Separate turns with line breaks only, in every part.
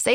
Say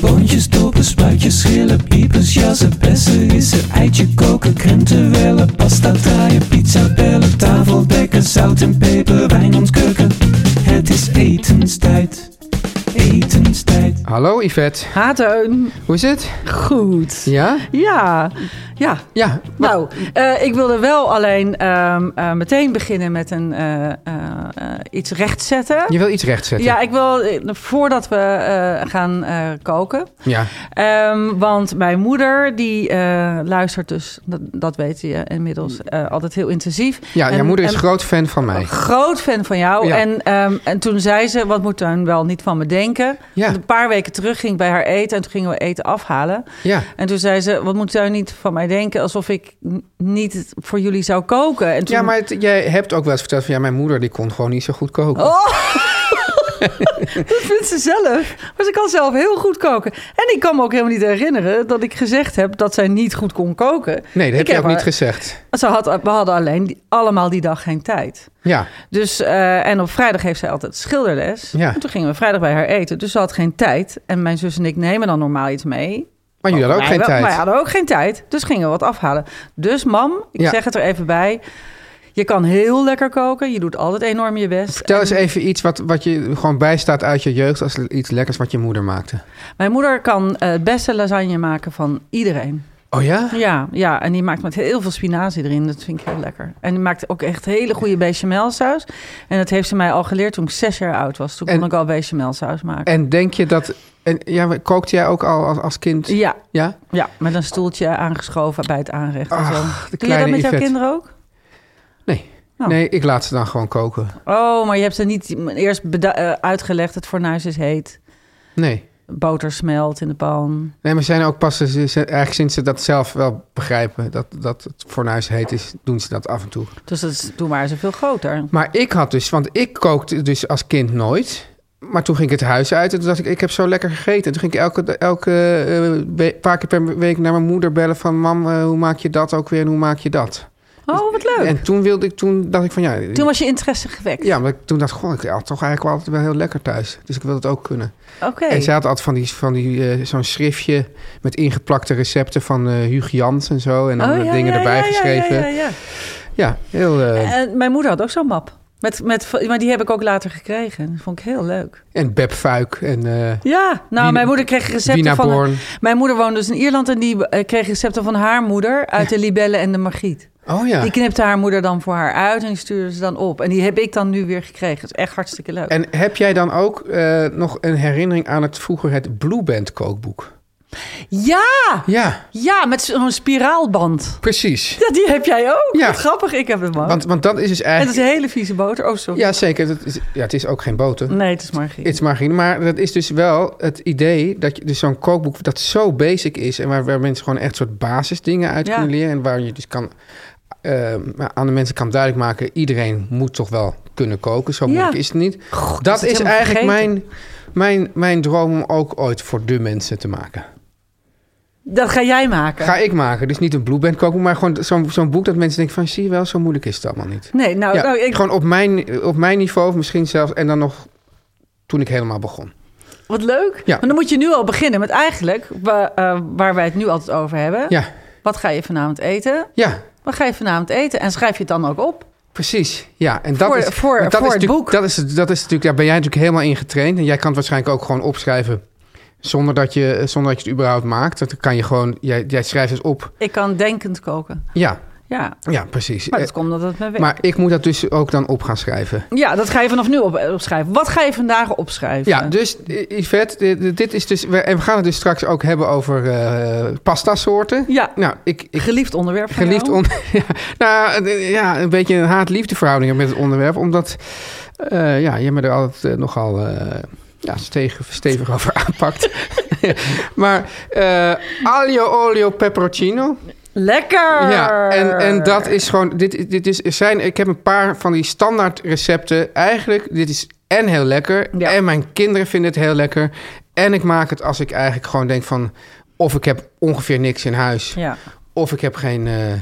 Boontjes, dopen, spuitjes, schillen, piepers, jassen, bessen, rissen, eitje koken, krenten wellen, pasta draaien, pizza bellen, tafel dekken, zout en peper, wijn ontkurken. Het is etenstijd, etenstijd.
Hallo Yvette,
Ha, Teun.
hoe is het?
Goed.
Ja?
Ja. ja.
Ja,
Nou, eh, ik wilde wel alleen ehm, eh, meteen beginnen met een, eh, eh, eh, iets rechtzetten.
je wil iets rechtzetten.
Ja, ik wil eh, voordat we eh, gaan eh, koken.
Ja,
Ehm, want mijn moeder, die eh, luistert dus, dat, dat weet je inmiddels, eh, altijd heel intensief.
Mm. ja jouw
En-
moeder is
en- Oh,
groot fan van mij.
Groot fan van jou.
Ja.
En, ehm, en toen zei ze, wat moet Teun wel niet van me denken?
Ja.
Een paar weken terug ging ik bij haar eten en toen gingen we eten afhalen.
Ja.
En toen zei ze, wat moet Teun niet van mij denken? Alsof ik n- niet voor jullie zou koken. En toen,
Ja, maar het- jij hebt ook wel eens verteld van ja, mijn moeder die kon gewoon niet zo goed koken.
Oh, Dat vindt ze zelf. Maar ze kan zelf heel goed koken. En ik kan me ook helemaal niet herinneren dat ik gezegd heb dat zij niet goed kon koken.
Nee, dat heb
Ik
je ook
haar-
niet gezegd.
Ze had, we hadden alleen die- allemaal die dag geen tijd.
Ja,
Dus, eh, en op vrijdag heeft zij altijd schilderles.
Ja.
En toen gingen we vrijdag bij haar eten. Dus ze had geen tijd. En mijn zus en ik nemen dan normaal iets mee.
maar jullie hadden ook
Wij
geen
Oh, wel-
tijd.
Wij hadden ook geen tijd. Dus gingen we wat afhalen. Dus mam, ik
Ja.
zeg het er even bij. Je kan heel lekker koken. Je doet altijd enorm je best.
Vertel eens even iets wat, wat je gewoon bijstaat uit je jeugd als iets lekkers wat je moeder maakte.
Mijn moeder kan eh, het beste lasagne maken van iedereen.
Oh ja?
Ja, ja, en die maakt met heel veel spinazie erin. Dat vind ik heel lekker. En die maakt ook echt hele goede bechamelsaus. En dat heeft ze mij al geleerd toen ik zes jaar oud was. Toen
En-
kon ik al bechamelsaus maken.
En denk je dat... En, ja, maar kookte jij ook al als, als kind?
ja,
Ja?
ja, met een stoeltje aangeschoven bij het aanrecht. en
Ach,
zo.
de
Doe je dat
kleine
met jouw
Yvette.
kinderen ook?
Nee.
Oh.
Nee, ik laat ze dan gewoon koken.
Oh, maar je hebt ze niet eerst beda- eh, uitgelegd. Het fornuis is heet.
Nee.
Boter smelt in de pan.
Nee, maar ze zijn ook pas, ze- ze- eigenlijk sinds ze dat zelf wel begrijpen, dat, dat het fornuis heet is, doen ze dat af en toe.
Dus dat is, toen waren ze veel groter.
Maar ik had dus, want ik kookte dus als kind nooit. Maar toen ging ik het huis uit en toen dacht ik, ik heb zo lekker gegeten. En toen ging ik elke, elke eh, we- paar keer per week naar mijn moeder bellen van... mam, eh, hoe maak je dat ook weer en hoe maak je dat?
Oh, wat leuk.
Dus- En toen wilde ik, toen dacht ik van ja...
Toen was je interesse gewekt.
Ja, maar toen dacht ik, goh, ik had toch eigenlijk wel altijd wel heel lekker thuis. Dus ik wil het ook kunnen.
Oké.
En zij had altijd van, die, van die, eh, zo'n schriftje met ingeplakte recepten van eh Huug Jans en zo. En dan
Oh,
eh,
ja,
dingen
ja,
erbij
ja, ja,
geschreven. Ja,
ja, ja.
heel... eh,
En mijn moeder had ook zo'n map. Met, met, maar die heb ik ook later gekregen. Dat vond ik heel leuk.
en Beb Fuik en eh
Ja, nou,
Wien-
mijn moeder kreeg
Wina
recepten van...
Born.
Mijn moeder woonde dus in Ierland en die eh, kreeg recepten van haar moeder... uit de libellen en de margriet.
Oh ja.
Die knipte haar moeder dan voor haar uit en die stuurde ze dan op. En die heb ik dan nu weer gekregen. Dat is echt hartstikke leuk.
En heb jij dan ook eh, nog een herinnering aan het vroeger het Blue Band kookboek?
Ja,
Ja,
ja, met zo'n spiraalband.
precies.
Ja, die heb jij ook.
Ja.
Wat grappig, ik heb hem ook.
Want, want dat is dus
Oh. En dat is
eigenlijk...
een hele vieze boter. Oh, sorry.
Ja, zeker. Dat is, ja, het is ook geen boter.
Nee, het is margriet.
Het is margarine. Maar dat is dus wel het idee dat je dus zo'n kookboek dat zo basic is... en waar, waar mensen gewoon echt soort basisdingen uit
Ja.
kunnen leren... en waar je dus kan... eh, aan de mensen kan duidelijk maken... iedereen moet toch wel kunnen koken. Zo
Ja.
moeilijk is het niet. dat
het
is
helemaal
eigenlijk mijn,
vergeten.
mijn, mijn droom om ook ooit voor de mensen te maken.
Dat ga jij maken.
Ga ik maken. Dus niet een Blue Band koken, maar gewoon zo'n zo'n boek dat mensen denken van... zie je wel, zo moeilijk is het allemaal niet.
Nee, nou,
ja,
nou, ik,
Gewoon op mijn, op mijn niveau, of misschien zelfs... en dan nog toen ik helemaal begon.
wat leuk.
Ja.
Maar dan moet je nu al beginnen met eigenlijk wa- eh, waar wij het nu altijd over hebben.
Ja,
Wat ga je vanavond eten?
ja
Wat ga je vanavond eten? En schrijf je het dan ook op.
precies. Ja, en dat
Voor-
is,
voor-
want dat
voor
is
het
natuurlijk-
boek.
Dat is, dat is natuurlijk, daar ben jij natuurlijk helemaal in getraind. En jij kan het waarschijnlijk ook gewoon opschrijven... zonder dat je, zonder dat je het überhaupt maakt. Dat kan je gewoon... Jij, jij schrijft het op.
Ik kan denkend koken.
Ja,
Ja,
ja precies.
maar
Eh,
dat komt omdat het me werkt.
maar ik moet dat dus ook dan op gaan schrijven.
Ja, dat ga je vanaf nu op, eh, opschrijven. Wat ga je vandaag opschrijven?
Ja, dus eh, Yvette, dit- dit- dit is dus. we- En we gaan het dus straks ook hebben over eh pasta-soorten.
Ja,
Nou, ik. ik
geliefd onderwerp van
geliefd
jou.
on, ja, nou, eh, ja, een beetje een haat-liefde verhouding met het onderwerp. Omdat eh, ja, je me er altijd eh, nogal eh, ja, stevig, stevig over aanpakt. maar eh, aglio olio peperoncino.
Lekker!
Ja, en, en dat is gewoon. Dit, is- dit is, er zijn, ik heb een paar van die standaard recepten. Eigenlijk, dit is en heel lekker.
Ja.
En mijn kinderen vinden het heel lekker. En ik maak het als ik eigenlijk gewoon denk van. Of ik heb ongeveer niks in huis.
Ja.
Of ik heb geen. eh,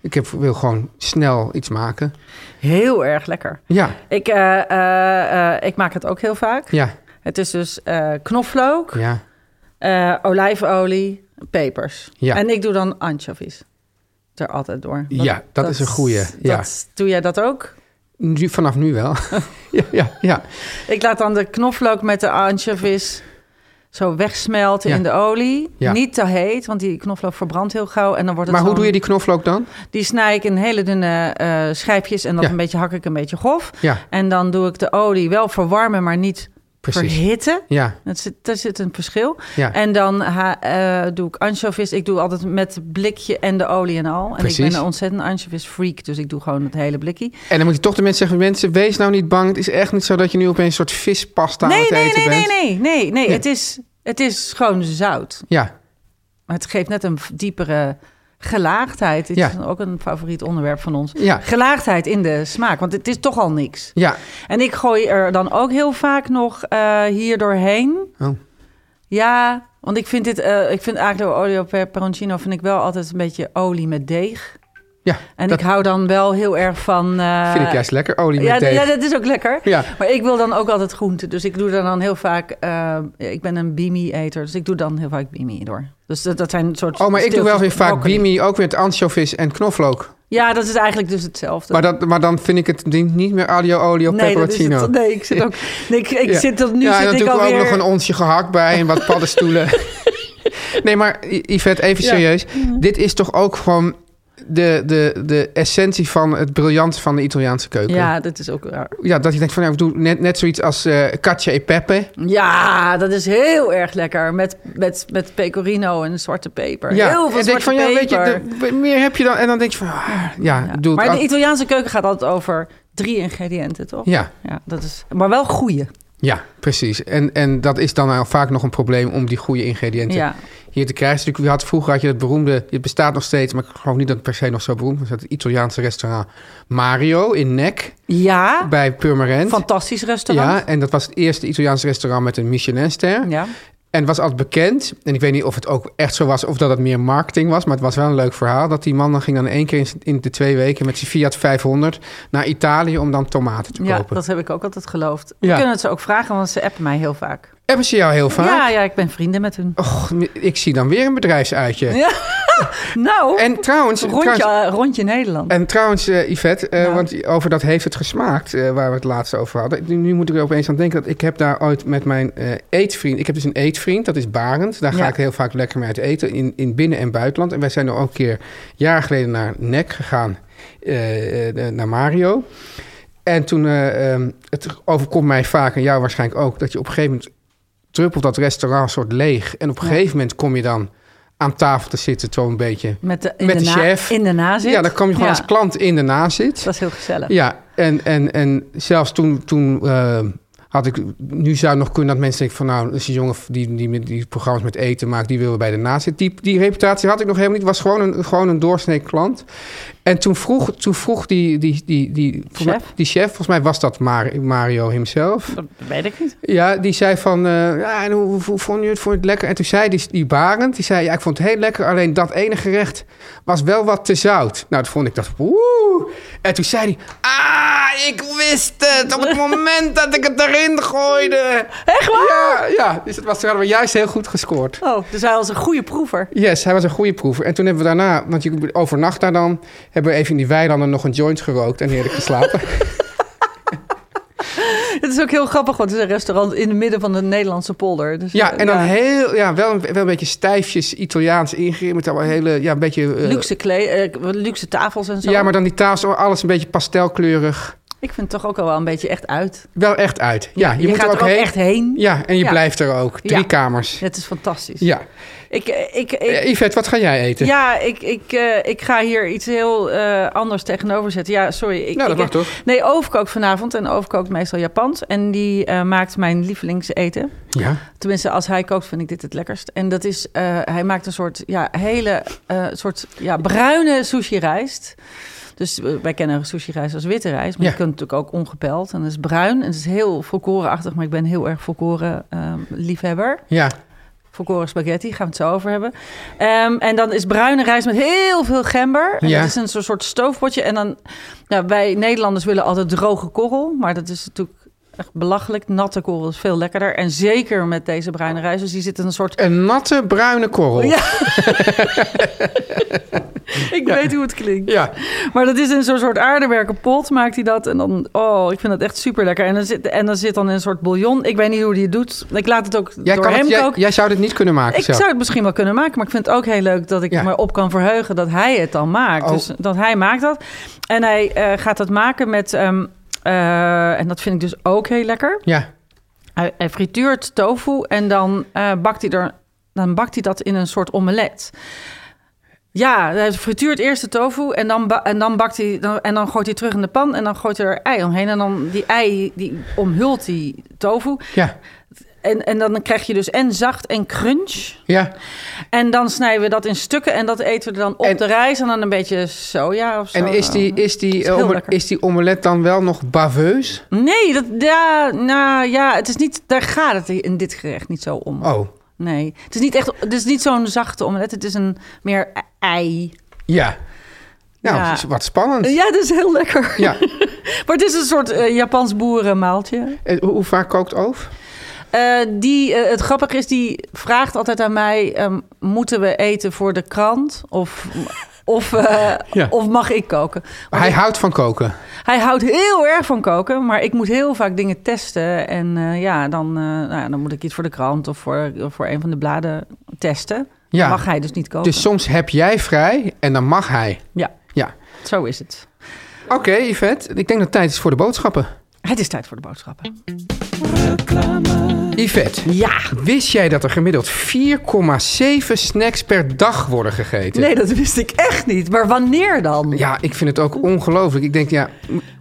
ik heb, wil gewoon snel iets maken.
Heel erg lekker.
Ja,
Ik, eh, eh, eh, ik maak het ook heel vaak.
ja,
Het is dus eh, knoflook,
ja.
eh, olijfolie, pepers.
Ja.
En ik doe dan anchovies er altijd door.
Ja, dat is een goeie, ja.
dat- doe jij dat ook?
Nu, vanaf nu wel. ja, ja, ja.
Ik laat dan de knoflook met de anchovies zo wegsmelten
Ja.
in de olie.
Ja.
Niet te heet, want die knoflook verbrandt heel gauw. En dan wordt het
Maar hoe
zo'n-
doe je die knoflook dan?
Die snij ik in hele dunne eh, schijfjes en dat
Ja.
een beetje hak ik een beetje grof.
Ja.
En dan doe ik de olie wel verwarmen, maar niet
Precies.
verhitten.
Ja,
Dat zit, daar zit een verschil.
Ja.
En dan ha- eh, doe ik anchovies. Ik doe altijd met blikje en de olie en al. En ik
Precies.
ben een ontzettend anchovies freak, dus ik doe gewoon het hele blikje.
en dan moet je toch de mensen zeggen: mensen, wees nou niet bang. Het is echt niet zo dat je nu opeens een soort vispasta aan
Nee
het
nee
eten
nee, nee,
bent.
nee, nee, nee,
Ja.
Het is, het is gewoon zout.
Ja,
Maar het geeft net een diepere gelaagdheid. Dit
Ja.
is ook een favoriet onderwerp van ons.
Ja.
Gelaagdheid in de smaak, want het is toch al niks.
ja.
En ik gooi er dan ook heel vaak nog eh, hier doorheen.
Oh.
Ja, want ik vind dit, eh, ik vind aglio olio peperoncino vind ik wel altijd een beetje olie met deeg.
Ja,
En
dat
ik hou dan wel heel erg van. eh,
vind ik juist lekker. Olie met
ja,
deeg.
ja, dat is ook lekker.
Ja.
Maar ik wil dan ook altijd groente. Dus ik doe er dan heel vaak. eh, ik ben een bimi-eter. Dus ik doe dan heel vaak bimi door. Dus dat, dat zijn een soort.
Oh, maar ik doe wel weer
stiltjes
vaak
broccoli.
bimi, ook met anchovies en knoflook.
Ja, dat is eigenlijk dus hetzelfde.
Maar, dat, maar dan vind ik het ding niet meer aglio olio
nee, dat is
peperoncino.
het, nee, ik zit ook. Nee, ik, ik
Ja.
zit dat nu.
ja, en
zit
dan
ik
doe ik
alweer...
ook nog een onsje gehakt bij en wat paddenstoelen. nee, maar I- Yvette, even
Ja. Mhm.
serieus. Dit is toch ook gewoon de, de, de essentie van het briljant van de Italiaanse keuken.
Ja, dat is ook raar.
Ja, dat je denkt van, nou, ik doe net, net zoiets als eh cacio e pepe.
Ja, dat is heel erg lekker. Met, met, met pecorino en zwarte peper.
Ja,
heel veel
en denk
zwarte
van, ja, weet
peper.
je, de- meer heb je dan. En dan denk je van, ah, ja,
Ja.
doe het.
Maar
al-
de Italiaanse keuken gaat altijd over drie ingrediënten, toch?
ja.
Ja, dat is, maar wel goeie.
Ja, precies. En, en dat is dan al vaak nog een probleem om die goede ingrediënten
Ja.
hier te krijgen. Dus je had, vroeger had je dat beroemde, het bestaat nog steeds, maar ik geloof niet dat het per se nog zo beroemd is. Het Italiaanse restaurant Mario in Nek
ja,
bij Purmerend.
Ah. fantastisch restaurant.
ja, en dat was het eerste Italiaanse restaurant met een Michelinster.
Ja.
En het was altijd bekend. En ik weet niet of het ook echt zo was of dat het meer marketing was. Maar het was wel een leuk verhaal. Dat die man dan ging dan één keer in z'n- in de twee weken met zijn Fiat 500 naar Italië om dan tomaten te
Ja,
kopen.
dat heb ik ook altijd geloofd.
Ja.
We kunnen het ze ook vragen, want ze appen mij heel vaak.
Hebben ze jou heel vaak?
Ja, ja, ik ben vrienden met hun.
Och, ik zie dan weer een bedrijfsuitje.
Nou,
En trouwens,
rondje,
trouwens-
eh, rondje Nederland.
en trouwens eh, Yvette, eh,
Nou.
want over dat heeft het gesmaakt, eh, waar we het laatst over hadden. Nu, nu moet ik er opeens aan denken dat ik heb daar ooit met mijn eh, eetvriend, ik heb dus een eetvriend, dat is Barend. Daar ga
Ja.
ik heel vaak lekker mee uit eten, in, in binnen- en buitenland. En wij zijn er ook een keer jaren geleden naar Nek gegaan, eh, eh, naar Mario. En toen, eh, ehm, het overkomt mij vaak en jou waarschijnlijk ook, dat je op een gegeven moment druppelt dat restaurant soort leeg. En op een
Ja.
gegeven moment kom je dan aan tafel te zitten, zo een beetje
Met de, in
met
de,
de
na-
chef.
In de nazit.
Ja, dan kom je gewoon
Ja,
als klant in de nazit.
Dat is heel gezellig.
Ja, en, en, en zelfs toen, toen eh, Had ik, nu zou het nog kunnen dat mensen denken van nou, als die jongen die, die, met- die programma's met eten maakt, die willen bij de naast zitten. Die, die reputatie had ik nog helemaal niet. was gewoon een, gewoon een doorsnee klant. En toen vroeg, toen vroeg die, die, die, die, volgens mij-
Chef?
die chef, volgens mij was dat Mar- Mario himself.
Dat weet ik niet.
Ja, die zei van, eh, ja, en hoe, hoe vond je het? Vond je het lekker? En toen zei die, die Barend, die zei, ja, ik vond het heel lekker. Alleen dat ene gerecht was wel wat te zout. Nou, dat vond ik, dat woe. En toen zei hij, ah, ik wist het op het moment dat ik het erin gooide.
Echt waar?
Ja, ja. Dus het was hadden we juist heel goed gescoord.
Oh, dus hij was een goede proever.
Yes, hij was een goede proever. En toen hebben we daarna, want je overnacht daar dan, hebben we even in die weilanden nog een joint gerookt en heerlijk geslapen.
Het is ook heel grappig, want het is een restaurant in het midden van de Nederlandse polder. Dus,
Ja,
eh,
en dan heel, ja, wel, een, wel een beetje stijfjes Italiaans ingericht. Met allemaal hele, ja, een beetje... eh,
Luxe, kle- eh, luxe tafels en zo.
Ja, maar dan die tafel, alles een beetje pastelkleurig.
Ik vind het toch ook al wel een beetje echt uit.
Wel echt uit. Ja, je, moet
gaat
er ook, heen.
echt heen.
Ja, en je
Ja.
blijft er ook. Drie
Ja.
kamers.
Het is fantastisch.
Ja.
Ik, eh, ik, ik,
Eh, Yvette, wat ga jij eten?
Ja, ik, ik, eh, ik ga hier iets heel eh, anders tegenover zetten. Ja, sorry. Ik,
Nou, dat
ik,
mag toch?
Nee, overkookt vanavond. En overkookt meestal Japans. En die eh, maakt mijn lievelingseten.
Ja.
Tenminste, als hij kookt, vind ik dit het lekkerst. En dat is, eh, hij maakt een soort, ja, hele, eh, soort ja, bruine sushi-rijst. Dus eh, wij kennen sushi-rijst als witte rijst. Maar
Ja.
je kunt natuurlijk ook ongepeld. En het is bruin. En het is heel volkorenachtig. Maar ik ben heel erg volkoren eh, liefhebber
Ja.
volkoren spaghetti, gaan we het zo over hebben. Ehm, en dan is bruine rijst met heel veel gember. En
Ja.
Dat is een soort- soort stoofpotje. En dan, nou, wij Nederlanders willen altijd droge korrel, maar dat is natuurlijk echt belachelijk. Natte korrel is veel lekkerder. En zeker met deze bruine rijst. Dus die zit in een soort...
Een natte bruine korrel.
Ja. Ik weet hoe het klinkt.
Ja.
Maar dat is in zo'n soort aardewerken pot, maakt hij dat. En dan, oh, ik vind dat echt super lekker. En dan zit, en dan zit dan in een soort bouillon. Ik weet niet hoe hij het doet. Ik laat het ook
Jij,
door
kan
hem
het, jij,
koken.
jij zou dit niet kunnen maken
Ik
zelf.
zou het misschien wel kunnen maken, maar ik vind het ook heel leuk dat ik
Ja.
me op kan verheugen dat hij het dan maakt.
Oh.
Dus dat hij maakt dat. En hij eh, gaat dat maken met, ehm, eh, en dat vind ik dus ook heel lekker.
Ja.
Hij, hij frituurt tofu en dan, eh, bakt hij er, dan bakt hij dat in een soort omelet. Ja, hij frituurt eerst de tofu en dan, ba- en dan bakt hij dan, en dan gooit hij terug in de pan en dan gooit hij er ei omheen en dan die ei die omhult die tofu
Ja.
en, en dan krijg je dus en zacht en crunch.
Ja.
En dan snijden we dat in stukken en dat eten we dan op
En-
de rijst en dan een beetje soja of zo.
En is die, is, die,
is heel
eh, ome-
lekker.
is die omelet dan wel nog baveus?
Nee, dat, ja, nou ja, het is niet, daar gaat het in dit gerecht niet zo om.
Oh.
Nee, het is niet echt, het is niet zo'n zachte omelet, het is een meer e- ei.
Ja. Nou,
Ja.
is wat spannend.
Ja, dat is heel lekker.
Ja.
Maar het is een soort eh, Japans boerenmaaltje.
En Eh, hoe, hoe vaak kookt Oof?
Eh, die, eh, het grappige is, die vraagt altijd aan mij: ehm, moeten we eten voor de krant? Of, of, eh,
Ja.
of mag ik koken? Want
Hij
ik-
houdt van koken.
Hij houdt heel erg van koken, maar ik moet heel vaak dingen testen. En eh, ja, dan, eh, nou, ja, dan moet ik iets voor de krant of voor, of voor een van de bladen testen.
Ja.
Mag hij dus niet koken.
Dus soms heb jij vrij en dan mag hij.
Ja,
Ja.
zo is het.
Oké, Yvette. Ik denk dat het tijd is voor de boodschappen.
Het is tijd voor de boodschappen.
Yvette,
Ja.
wist jij dat er gemiddeld 4,7 snacks per dag worden gegeten?
Nee, dat wist ik echt niet. Maar wanneer dan?
Ja, ik vind het ook ongelooflijk. Ik denk, ja,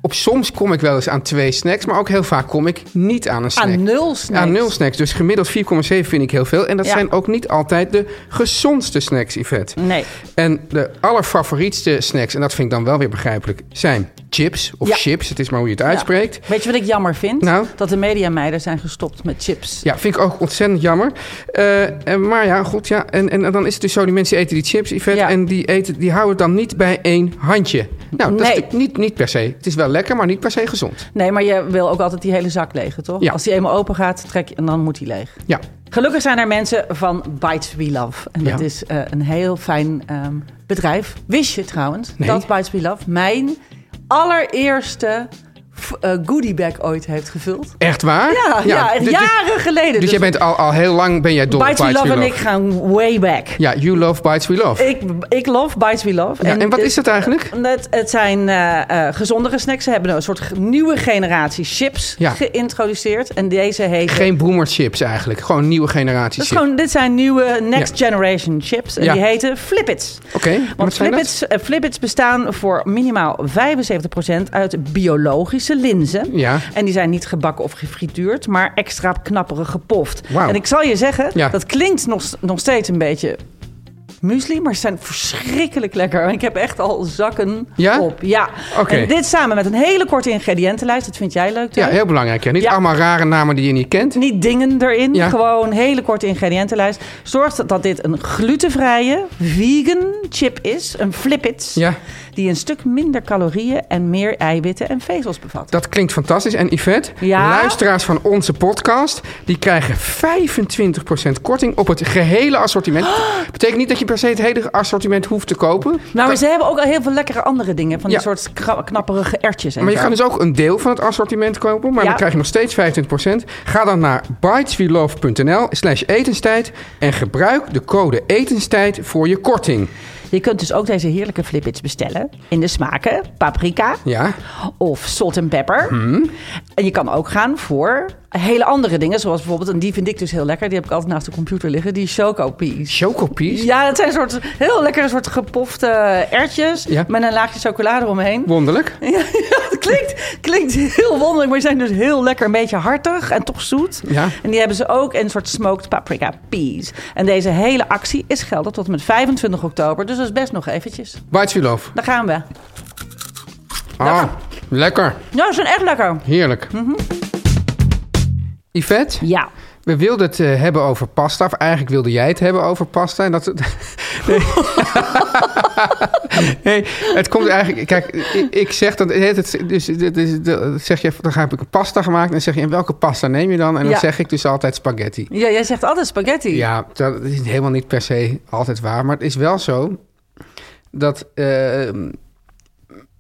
op soms kom ik wel eens aan twee snacks, maar ook heel vaak kom ik niet aan een snack.
Aan Ah, nul snacks.
Aan nul snacks. Dus gemiddeld 4,7 vind ik heel veel. En dat
Ja.
zijn ook niet altijd de gezondste snacks, Yvette.
Nee.
En de allerfavorietste snacks, en dat vind ik dan wel weer begrijpelijk, zijn chips of
Ja.
chips. Het is maar hoe je het uitspreekt.
Ja. Weet je wat ik jammer vind?
Nou?
Dat de mediameiden zijn gestopt met chips.
Ja, vind ik ook ontzettend jammer. Eh, en- maar ja, goed, ja. En, en, en dan is het dus zo, die mensen eten die chips, Yvette,
Ja.
en die, eten, die houden het dan niet bij één handje. Nou, dat
Nee.
is natuurlijk niet, niet per se. Het is wel lekker, maar niet per se gezond.
Nee, maar je wil ook altijd die hele zak legen, toch?
Ja.
Als die eenmaal open gaat, trek je en dan moet die leeg.
Ja,
Gelukkig zijn er mensen van Bites We Love. En dat
Ja.
is eh, een heel fijn ehm, bedrijf. Wist je trouwens
Nee.
dat Bites We Love mijn allereerste f- eh, goodiebag ooit heeft gevuld?
echt waar?
Ja, ja,
Dus, dus-
jaren geleden.
dus jij bent al, al heel lang ben jij dol op
Bites We Love en ik
Love.
Eh, gaan way back.
Ja, you love Bites We Love.
Ik, ik love Bites We Love.
Ja, en wat
dit-
is dat eigenlijk?
Het, het zijn eh, eh, gezondere snacks. Ze hebben een soort ge- nieuwe generatie chips
Ja.
geïntroduceerd. En deze heet...
Geen boomer chips eigenlijk. Gewoon nieuwe generatie
Dat is
chips.
gewoon, dit zijn nieuwe next
Ja.
generation chips. En
Ja.
die heten Flippits.
Oké, en wat
Want
zijn dat?
Flippits, eh, Flippits bestaan voor minimaal 75% uit biologische linzen.
Ja.
En die zijn niet gebakken of gefrituurd, maar extra knapperig gepoft.
Wauw.
En ik zal je zeggen,
Ja.
dat klinkt nog, nog steeds een beetje muesli, maar ze zijn verschrikkelijk lekker. En ik heb echt al zakken
Ja?
op. Ja.
Oké.
En dit samen met een hele korte ingrediëntenlijst, dat vind jij leuk,
Ja,
Teun?
heel belangrijk. Ja. Niet
Ja.
allemaal rare namen die je niet kent.
Niet dingen erin,
Ja.
gewoon hele korte ingrediëntenlijst. Zorg dat- dat dit een glutenvrije, vegan chip is, een flippits,
Ja.
die een stuk minder calorieën en meer eiwitten en vezels bevat.
Dat klinkt fantastisch. En Yvette,
Ja?
luisteraars van onze podcast, die krijgen 25% korting op het gehele assortiment. Betekent niet dat je per se het hele assortiment hoeft te kopen.
nou, maar ze hebben ook al heel veel lekkere andere dingen, van
Ja.
die soort kra- knapperige ertjes en
Maar je
zo.
kan dus ook een deel van het assortiment kopen, maar
Ja.
dan krijg je nog steeds 25%. Ga dan naar biteswelove.nl slash etenstijd en gebruik de code etenstijd voor je korting.
Je kunt dus ook deze heerlijke flippits bestellen in de smaken paprika
Ja,
of salt en pepper.
Mhm.
En je kan ook gaan voor hele andere dingen, zoals bijvoorbeeld, en die vind ik dus heel lekker, die heb ik altijd naast de computer liggen, die choco peas.
chocopies.
Ja, dat zijn soort heel lekkere soort gepofte ertjes
Ja.
met een laagje chocolade omheen.
Wonderlijk.
Ja, het klinkt, klinkt heel wonderlijk, maar ze zijn dus heel lekker, een beetje hartig en toch zoet.
Ja.
En die hebben ze ook in een soort smoked paprika peas. En deze hele actie is geldig tot en met 25 oktober, dus dat is best nog eventjes.
Bites We Love.
Daar gaan we.
Ah, lekker.
Nou, ze zijn echt lekker.
Heerlijk. Yvette?
Ja.
We wilden het eh, hebben over pasta. Of eigenlijk wilde jij het hebben over pasta. En dat, het- nee. nee, het komt eigenlijk... Kijk, ik, ik zeg dat... Het, dus, dit is- dat zeg je, dan heb ik een pasta gemaakt. En dan zeg je, en welke pasta neem je dan? En dan
Ja.
zeg ik dus altijd spaghetti.
ja. Jij zegt altijd spaghetti.
Ja, dat is helemaal niet per se altijd waar. Maar het is wel zo dat eh,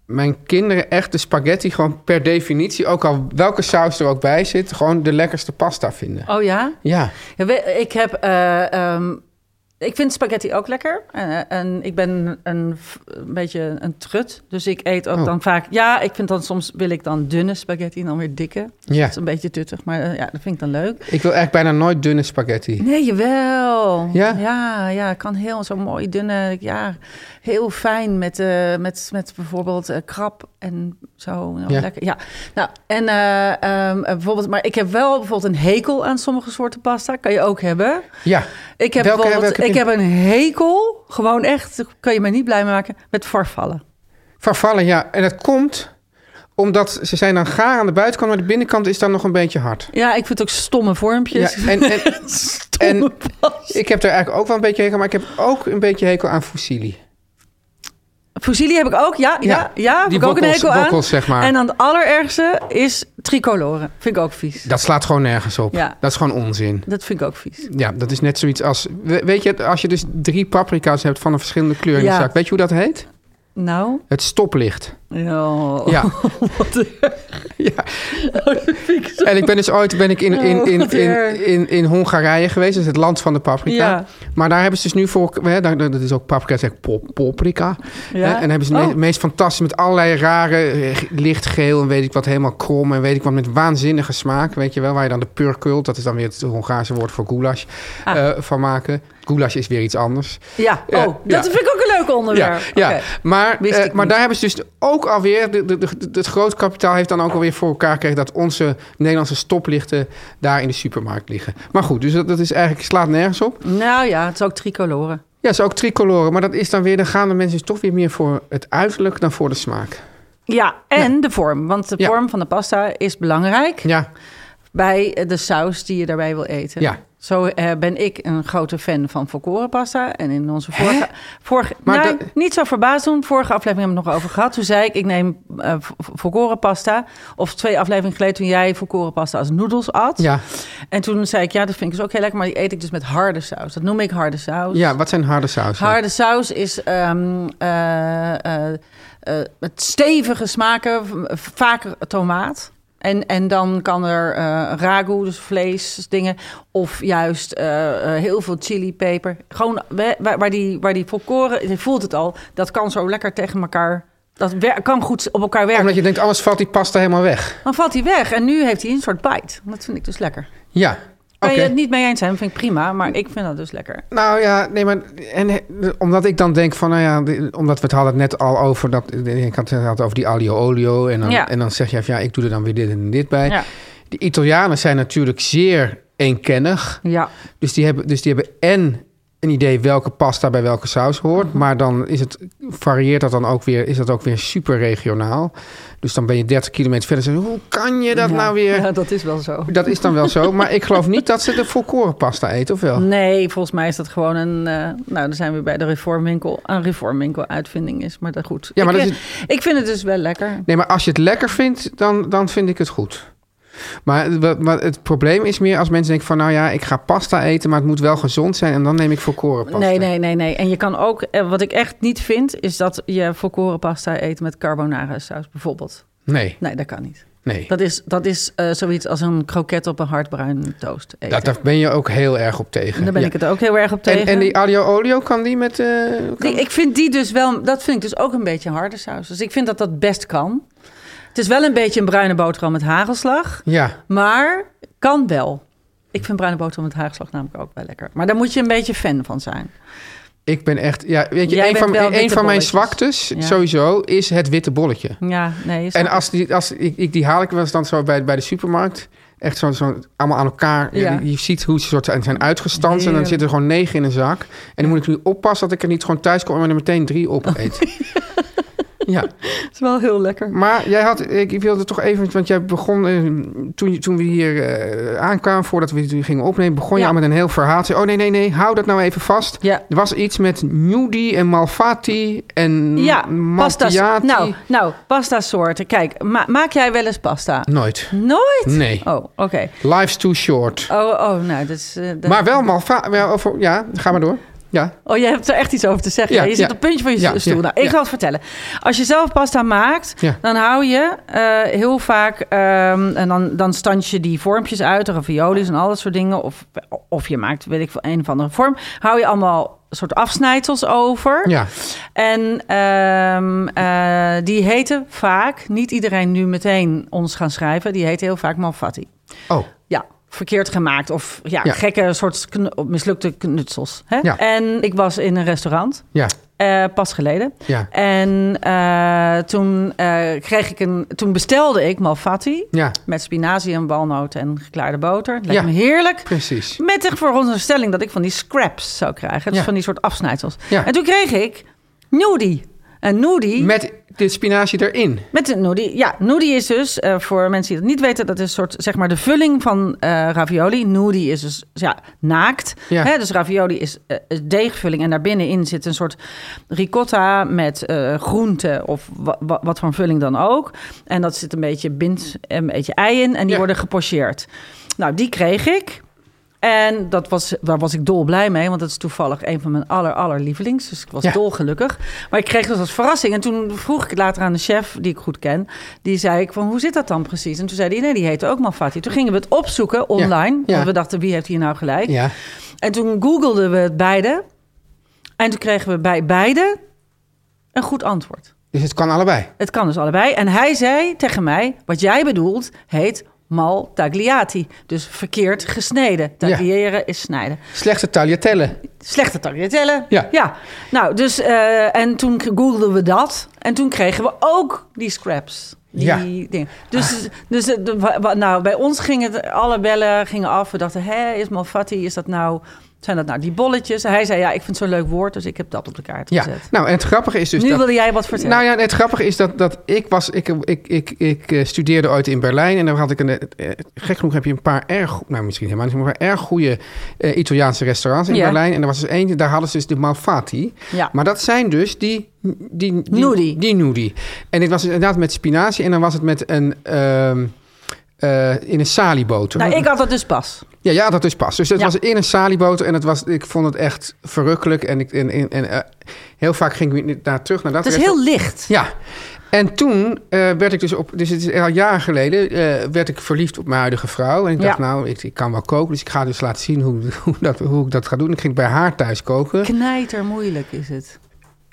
mijn kinderen echt de spaghetti gewoon per definitie... ook al welke saus er ook bij zit, gewoon de lekkerste pasta vinden.
Oh ja?
Ja.
Ja, we- ik heb. eh, ehm, ik vind spaghetti ook lekker. En, eh, en ik ben een, f- een beetje een trut. Dus ik eet ook
Oh.
dan vaak. Ja, ik vind dan soms wil ik dan dunne spaghetti en dan weer dikke.
Ja.
Dat is een beetje tuttig, maar eh, ja, dat vind ik dan leuk.
Ik wil eigenlijk bijna nooit dunne spaghetti.
Nee, jawel.
Ja?
Ja, ja, ik kan heel zo mooi dunne. Ja, heel fijn met, eh, met, met bijvoorbeeld eh, krab en zo. Nou,
Ja.
Lekker. Ja. Nou, en eh, ehm, eh, bijvoorbeeld, maar ik heb wel bijvoorbeeld een hekel aan sommige soorten pasta. Kan je ook hebben.
Ja.
Ik heb,
Welke-
bijvoorbeeld-
welke
ik
heb
heb een hekel, gewoon echt, daar kan je mij niet blij mee maken, met farvallen.
Vervallen, ja. En dat komt omdat ze zijn dan gaar aan de buitenkant, maar de binnenkant is dan nog een beetje hard.
Ja, ik vind ook stomme vormpjes.
Ja, en- en-
stomme
en-
pas.
Ik heb er eigenlijk ook wel een beetje hekel, maar ik heb ook een beetje hekel aan fossilie.
Fusilli heb ik ook, ja, ja,
Ja,
ja, heb
die
ik ook een
bokkels-
hekel aan.
bokkels, zeg maar.
En dan het allerergste is tricoloren, vind ik ook vies.
Dat slaat gewoon nergens op.
Ja.
Dat is gewoon onzin.
Dat vind ik ook vies.
Ja, dat is net zoiets als... we- Weet je, als je dus drie paprika's hebt van een verschillende kleur in
Ja.
de zak... Weet je hoe dat heet?
Nou,
Het stoplicht.
ja.
Ja.
Wat erg. Oh,
ja.
Dat vind ik zo- Oh,
En ik ben dus ooit ben ik in, in, in, in, in, in, Hongarije geweest. Dat is het land van de paprika.
Ja.
Maar daar hebben ze dus nu voor... Hè, daar, dat is ook paprika, zeg pop, paprika.
Ja.
Hè, en dan hebben ze het
Oh.
me- meest fantastisch met allerlei rare... eh, g- lichtgeel en weet ik wat, helemaal krom. En weet ik wat, met waanzinnige smaak. Weet je wel, waar je dan de purkult... dat is dan weer het Hongaarse woord voor goulash...
Ah.
eh, van maken. Goulash is weer iets anders.
Ja, oh,
Ja,
dat
ja.
vind ik ook een leuk
Ja,
onderwerp.
ja.
Oh, Oké.
maar,
Wist
eh,
ik
maar
niet.
daar hebben ze dus ook alweer... De, de, de, het grootkapitaal heeft dan ook alweer voor elkaar gekregen... dat onze Nederlandse stoplichten daar in de supermarkt liggen. Maar goed, dus dat, dat is eigenlijk, slaat nergens op.
Nou ja, het is ook tricoloren.
Ja, ze ook tricoloren. Maar dat is dan weer... dan gaan de mensen dus toch weer meer voor het uiterlijk... dan voor de smaak.
Ja, en de vorm. Want de
Ja.
vorm van de pasta is belangrijk.
Ja,
bij eh, de saus die je daarbij wil eten.
Ja.
Zo eh, ben ik een grote fan van volkorenpasta. En in onze vorige... vorige
Maar
nee,
dat-
niet zo verbaasd doen. Vorige aflevering hebben we het nog over gehad. Toen zei ik, ik neem eh, vo- volkorenpasta. Of twee afleveringen geleden toen jij volkorenpasta als noedels at.
ja.
En toen zei ik, ja, dat vind ik dus ook heel lekker. Maar die eet ik dus met harde saus. Dat noem ik harde saus.
ja wat zijn harde sausen?
Harde saus is ehm eh, eh, eh, met stevige smaken, v- vaak tomaat. En, en dan kan er eh ragu, dus vleesdingen, of juist eh, eh, heel veel chilipeper. Gewoon we- waar, waar die, waar die volkoren, je voelt het al, dat kan zo lekker tegen elkaar, dat wer- kan goed op elkaar werken.
Omdat je denkt, anders valt die pasta helemaal weg.
Dan valt hij weg en nu heeft hij een soort bite. Dat vind ik dus lekker.
Ja.
Kan je
Oké.
het niet mee eens zijn, vind ik prima. Maar ik vind dat dus lekker.
Nou ja, nee, maar en, eh, omdat ik dan denk van, nou ja, de- omdat we het hadden het net al over dat, ik had het inderdaad over die alio olio en dan,
Ja.
en dan zeg je van, ja, ik doe er dan weer dit en dit bij.
Ja.
De Italianen zijn natuurlijk zeer eenkennig,
Ja.
dus die hebben, dus die hebben en een idee welke pasta bij welke saus hoort,
Mhm.
maar dan is het varieert dat dan ook weer, is dat ook weer super regionaal. Dus dan ben je 30 kilometer verder en zeg je, hoe kan je dat
Ja.
nou weer?
Ja, dat is wel zo.
Dat is dan wel zo, maar ik geloof niet dat ze de volkoren pasta eten, of wel?
Nee, volgens mij is dat gewoon een. eh, nou, dan zijn we bij de reformwinkel. Een reformwinkel uitvinding is, maar dat goed.
Ja, maar
ik,
dat
vind, ik vind het dus wel lekker.
Nee, maar als je het lekker vindt, dan, dan vind ik het goed. Maar, wa- maar het probleem is meer als mensen denken van... nou ja, ik ga pasta eten, maar het moet wel gezond zijn... en dan neem ik volkoren pasta.
Nee, nee, nee, nee. En je kan ook. eh, wat ik echt niet vind, is dat je volkoren pasta eet met carbonara saus bijvoorbeeld.
Nee,
Nee, dat kan niet.
nee.
Dat is, dat is eh, zoiets als een kroket op een hardbruin toast eten.
Dat, daar ben je ook heel erg op tegen.
En daar ben
Ja.
ik het ook heel erg op tegen.
en, en die aglio olio, kan die met... eh, kan-
Die- ik vind die dus wel, dat vind ik dus ook een beetje een harde saus. Dus ik vind dat dat best kan. Het is wel een beetje een bruine boterham met hagelslag,
Ja,
maar kan wel. Ik vind bruine boterham met hagelslag namelijk ook wel lekker. Maar daar moet je een beetje fan van zijn.
ik ben echt... Ja, weet je,
Jij
een
bent
van,
wel
een
witte
van mijn
bolletjes.
zwaktes
Ja.
sowieso is het witte bolletje.
Ja, nee. is
En
dat-
als die, als ik, ik die haal ik wel eens dan zo bij, bij de supermarkt. Echt zo'n zo, allemaal aan elkaar.
Ja.
Je, je ziet hoe ze soort zijn- zijn uitgestanst. En dan
Heerlijk.
zitten er gewoon negen in een zak. En dan moet ik nu oppassen dat ik er niet gewoon thuis kom en er meteen drie
Oh.
op eet. ja,
Het is wel heel lekker.
maar jij had, ik ik wilde toch even, want jij begon eh, toen, je- toen we hier eh, aankwamen, voordat we dit gingen opnemen, begon je
Ja.
al met een heel verhaal. Zei, oh nee, nee, nee, hou dat nou even vast.
Ja.
Er was iets met nudie en malfatti en
Ja, pasta.
Maltiati.
Nou, nou, pasta soorten. Kijk, ma- maak jij wel eens pasta?
Nooit.
Nooit?
Nee.
Oh, oké.
Life's too short.
Oh, oh, nou, dat is... eh, dat-
Maar wel malva... Wel, of, ja, ga maar door. Ja.
Oh, jij hebt er echt iets over te zeggen.
Ja,
Ja, je zit
ja.
op het puntje van je
Ja,
stoel.
ja,
nou, ik
ja.
zal het vertellen. Als je zelf pasta maakt,
Ja.
dan hou je eh, heel vaak... ehm, en dan, dan stans je die vormpjes uit, raviolis en al dat soort dingen. Of, of je maakt, weet ik veel, een of andere vorm. Hou je allemaal soort afsnijdsels over.
Ja.
En ehm, eh, die heten vaak... Niet iedereen nu meteen ons gaan schrijven. Die heten heel vaak malfatti.
Oh,
Ja, verkeerd gemaakt of ja,
Ja.
gekke soort kn- mislukte knutsels. Hè?
Ja.
En ik was in een restaurant.
ja.
eh, pas geleden.
Ja.
En eh, toen, eh, kreeg ik een, toen bestelde ik malfatti.
Ja.
Met spinazie en walnoten en geklaarde boter. Het Leek
Ja.
me heerlijk.
Precies.
Met de veronderstelling dat ik van die scraps zou krijgen. Dus
Ja.
van die soort afsnijdsels.
Ja.
En toen kreeg ik noodie. En noodie...
Met dit spinazie erin.
Met de noodie. Ja, noodie is dus, eh, voor mensen die dat niet weten, dat is soort, zeg maar de vulling van eh, ravioli. Noodie is dus ja, naakt.
Ja.
Hè? Dus ravioli is eh, deegvulling en daarbinnenin zit een soort ricotta met eh groente of wa- wa- wat voor vulling dan ook. En dat zit een beetje bind en een beetje ei in en die
Ja.
worden gepocheerd. Nou, die kreeg ik. En dat was, daar was ik dolblij mee, want dat is toevallig een van mijn aller, aller lievelings. Dus ik was
Ja.
dolgelukkig. Maar ik kreeg dat als verrassing. En toen vroeg ik het later aan de chef, die ik goed ken. Die zei ik van, hoe zit dat dan precies? En toen zei hij, nee, die heette ook Malfatti. Toen gingen we het opzoeken online.
Ja.
Want we dachten, wie heeft hier nou gelijk?
Ja.
En toen googelden we het beide. En toen kregen we bij beide een goed antwoord.
Dus het kan allebei.
Het kan dus allebei. En hij zei tegen mij: wat jij bedoelt heet mal tagliati. Dus verkeerd gesneden. Tagliëren is snijden.
Slechte tagliatelle.
Slechte tagliatelle.
Ja.
ja. Nou, dus eh, en toen googelden we dat. En toen kregen we ook die scraps. Die
Ja.
dingen. Dus, dus het- de- wa- wa- nou, bij ons gingen het, alle bellen gingen af. We dachten, hè, is Malfatti, is dat nou, zijn dat nou die bolletjes? Hij zei, ja, ik vind het zo'n leuk woord, dus ik heb dat op de kaart
Ja.
gezet.
Nou, en het grappige is dus
nu
dat...
wilde jij wat vertellen.
Nou ja, het grappige is dat, dat ik was... Ik, ik, ik, ik eh, studeerde ooit in Berlijn en daar had ik een... eh, Gek genoeg heb je een paar erg... go- Nou, misschien helemaal niet, maar een paar erg goede eh, Italiaanse restaurants in
Ja.
Berlijn. En er was dus eentje, daar hadden ze dus de Malfatti.
Ja.
Maar dat zijn dus die... die, die
Nudi.
Die nudi. En dit was dus inderdaad met spinazie en dan was het met een... ehm, eh, in een salieboter.
nou, ik had dat dus pas.
Ja, ja, dat is pas. Dus dat
Ja.
was in een salieboter en het was, ik vond het echt verrukkelijk. En, ik, en, en, en eh, heel vaak ging ik weer naar terug naar dat
Het is
restaurant.
heel licht.
Ja. En toen eh, werd ik dus op, dus het is al jaren geleden, eh, werd ik verliefd op mijn huidige vrouw. En ik dacht,
Ja.
nou, ik, ik kan wel koken, dus ik ga dus laten zien hoe, hoe, dat, hoe ik dat ga doen. Ik ging bij haar thuis koken.
Knijter moeilijk is het.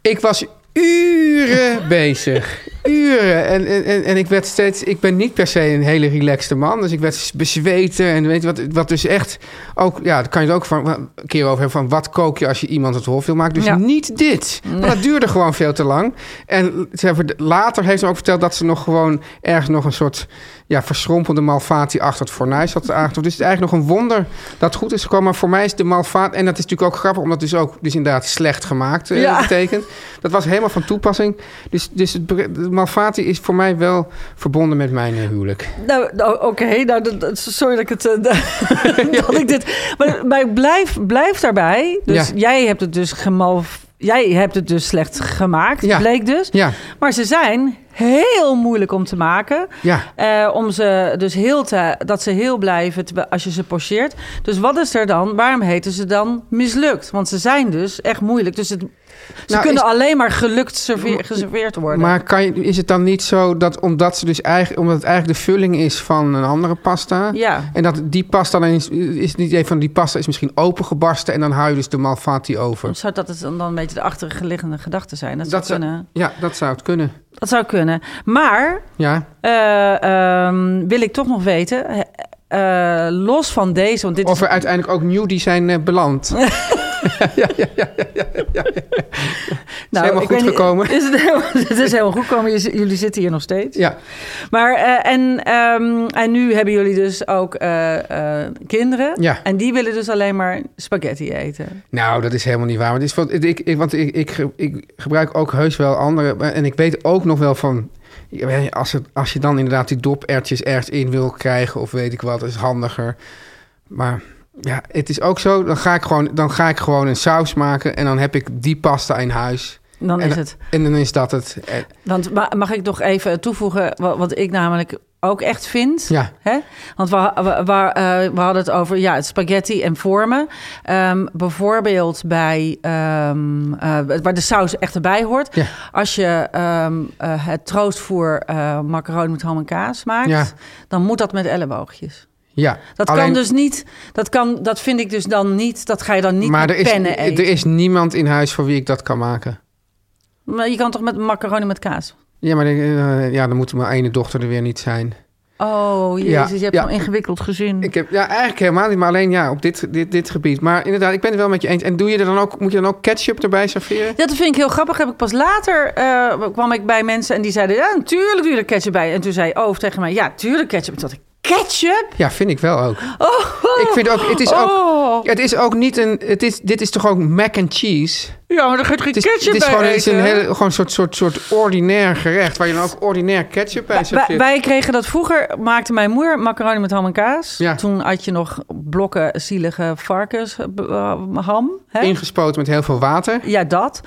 Ik was uren bezig. uren. En, en, en, en ik werd steeds... Ik ben niet per se een hele relaxte man. Dus ik werd bezweten. En weet je wat, wat dus echt... Ook, ja, daar kan je het ook van, een keer over hebben. Van wat kook je als je iemand het hof wil maken? Dus
Ja.
niet dit. Maar dat duurde gewoon veel te lang. En ze hebben, later heeft ze ook verteld dat ze nog gewoon... ergens nog een soort ja, verschrompelde malvatie achter het fornuis had aangetroffen. Dus het is eigenlijk nog een wonder dat het goed is gekomen. Maar voor mij is de malvaat... En dat is natuurlijk ook grappig, omdat het dus ook dus inderdaad slecht gemaakt eh,
Ja.
betekent. Dat was helemaal van toepassing. Dus, dus het, be- de malvatie is voor mij wel verbonden met mijn eh, huwelijk.
Nou, nou, oké. Nou, dat- dat- sorry dat ik het. eh, dat ik dit. Maar, maar ik blijf, blijf daarbij. Dus
Ja.
jij hebt het dus gemalf. Jij hebt het dus slecht gemaakt,
Ja.
bleek dus.
Ja,
Maar ze zijn heel moeilijk om te maken.
ja.
Eh, om ze dus heel te, dat ze heel blijven te- als je ze pocheert. Dus wat is er dan? Waarom heten ze dan mislukt? Want ze zijn dus echt moeilijk. Dus het, ze
Nou,
kunnen
is-
alleen maar gelukt serveer- geserveerd worden.
Maar kan je, is het dan niet zo dat omdat, ze dus eigenlijk, omdat het eigenlijk de vulling is van een andere pasta...
ja.
En dat die pasta dan is, is het idee van die pasta is misschien opengebarsten en dan hou je dus de malfati over.
Zou dat het dan een beetje de achterliggende gedachten zijn? Dat,
Dat zou-
zou kunnen.
Ja, dat zou het kunnen.
Dat zou kunnen. Maar
Ja,
eh, ehm, wil ik toch nog weten, eh, eh, los van deze, want dit
of
is
er uiteindelijk ook nieuw die zijn eh, beland. ja, ja, ja, ja, ja, ja, ja. Is helemaal
nou,
goed
ik weet niet-
gekomen.
Is het, helemaal, het is helemaal goed gekomen. Je- Jullie zitten hier nog steeds.
Ja,
Maar eh, en, ehm, en nu hebben jullie dus ook eh, eh, kinderen.
Ja.
En die willen dus alleen maar spaghetti eten.
nou, dat is helemaal niet waar. Want, het is, van- ik, ik, want ik, ik, ge- ik gebruik ook heus wel andere. maar- En ik weet ook nog wel van. ja, weet je, Als, het, als je dan inderdaad die dopertjes ergens in wil krijgen, of weet ik wat, is handiger. Maar ja, het is ook zo. Dan ga ik gewoon, dan ga ik gewoon een saus maken en dan heb ik die pasta in huis.
Dan
En-
is het.
En dan is dat het. Eh,
Want ma- mag ik nog even toevoegen wa- wat ik namelijk ook echt vind?
Ja.
Hè? Want we, ha- we, waar, eh, we hadden het over ja, het spaghetti en vormen. Ehm, bijvoorbeeld bij ehm, eh, waar de saus echt erbij hoort.
Ja.
Als je ehm, eh, het troostvoer eh macaroni met ham en kaas maakt,
Ja.
dan moet dat met elleboogjes.
Ja.
Dat
Alleen-
kan dus niet. Dat, kan, dat vind ik dus dan niet. Dat ga je dan niet
maar
met
er is,
pennen eten.
er is niemand in huis voor wie ik dat kan maken.
Maar je kan toch met macaroni met kaas?
Ja, maar eh, ja, dan moet mijn ene dochter er weer niet zijn.
Oh, jezus, je hebt
ja.
zo'n ingewikkeld gezin.
Ik heb, ja, eigenlijk helemaal niet, maar alleen ja, op dit, dit, dit gebied. Maar inderdaad, ik ben het wel met je eens. En doe je er dan ook, moet je dan ook ketchup erbij serveren?
Ja, dat vind ik heel grappig. Heb ik pas later eh, kwam ik bij mensen en die zeiden: Ja, natuurlijk doe je er ketchup bij. En toen zei Oof tegen mij: Ja, tuurlijk ketchup. Toen dacht ik: Ketchup?
Ja, vind ik wel ook.
Oh,
Ik vind ook, het is ook,
oh.
het is ook niet een, het is, dit is toch ook mac and cheese?
Ja, maar er gaat geen
Het is,
ketchup
het is
bij.
gewoon, het is
eten.
een hele, gewoon een soort, soort, soort ordinair gerecht, waar je dan ook ordinair ketchup bij
Wij-
serveert.
wij kregen dat vroeger, maakte mijn moeder macaroni met ham en kaas.
Ja.
Toen had je nog blokken zielige varkensham. hè?
Ingespoten met heel veel water.
Ja, dat.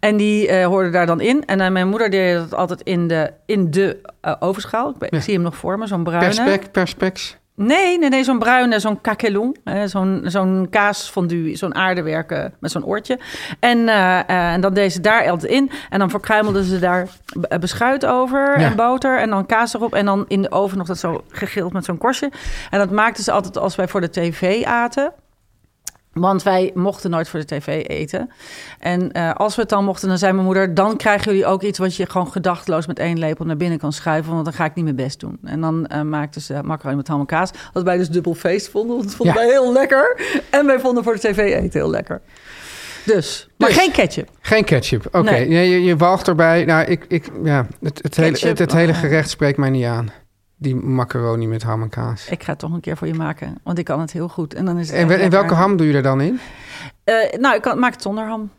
En die eh hoorde daar dan in. En eh, mijn moeder deed dat altijd in de, in de eh, ovenschaal. Ik, ben- ik zie hem nog voor me, zo'n bruine.
Perspec, perspex.
Nee, nee, nee, zo'n bruine, zo'n caquelon. hè, Zo'n zo'n kaasfondue, zo'n aardewerken met zo'n oortje. En, eh, eh, en dan deed ze daar altijd in. En dan verkruimelden ze daar b- eh, beschuit over
Ja.
en boter en dan kaas erop. En dan in de oven nog dat zo gegild met zo'n korstje. En dat maakten ze altijd als wij voor de tv aten. Want wij mochten nooit voor de tv eten. En eh, als we het dan mochten, dan zei mijn moeder... dan krijgen jullie ook iets wat je gewoon gedachtloos met één lepel naar binnen kan schuiven... want dan ga ik niet mijn best doen. En dan eh maakten ze macaroni met ham en kaas. Wat wij dus dubbel feest vonden, want dat vonden
Ja.
wij heel lekker. En wij vonden voor de tv eten heel lekker. Dus, maar
Dus.
geen ketchup.
Geen ketchup, oké.
Nee.
Nee, je, je walgt erbij. Nou, ik, ik, ja, het, het, hele,
Ketchup,
het, het hele
oh.
gerecht spreekt mij niet aan. Die macaroni met ham en kaas.
Ik ga het toch een keer voor je maken, want ik kan het heel goed. En, dan is
En,
het echt
wel- en
lekker.
welke ham doe je er dan in?
Eh, nou, ik kan, maak het zonder ham.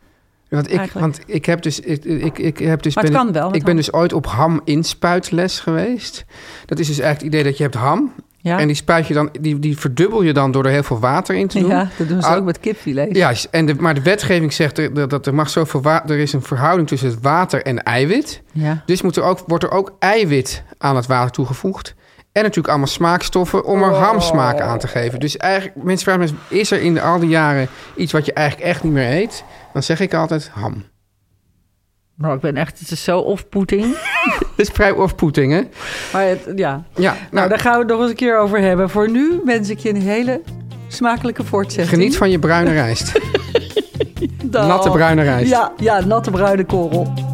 Want ik,
Eigenlijk.
want ik heb dus. Ik, ik, ik heb dus
Maar het
ben-
kan wel met
Ik ben
ham.
dus ooit op ham inspuitles geweest. Dat is dus eigenlijk het idee dat je hebt ham.
Ja,
En die spuit je dan. Die, die verdubbel je dan door er heel veel water in te doen.
ja dat doen ze
Ah,
ook met kipfilet.
Juist, en de, maar de wetgeving zegt er- dat, dat er mag zoveel water. Er is een verhouding tussen het water en eiwit.
Ja.
Dus moet er ook, wordt er ook eiwit aan het water toegevoegd. En natuurlijk allemaal smaakstoffen om er hamsmaak aan te geven. Dus eigenlijk, mensen vragen me eens, is er in al die jaren iets wat je eigenlijk echt niet meer eet? Dan zeg ik altijd ham.
Nou, ik ben echt, het is zo off-putting.
Dat is vrij off-putting, hè?
Maar het, ja,
Ja, nou,
Nou, daar gaan we het nog eens een keer over hebben. Voor nu wens ik je een hele smakelijke voortzetting.
geniet van je bruine rijst.
Dag.
natte bruine rijst.
Ja, ja, natte bruine korrel.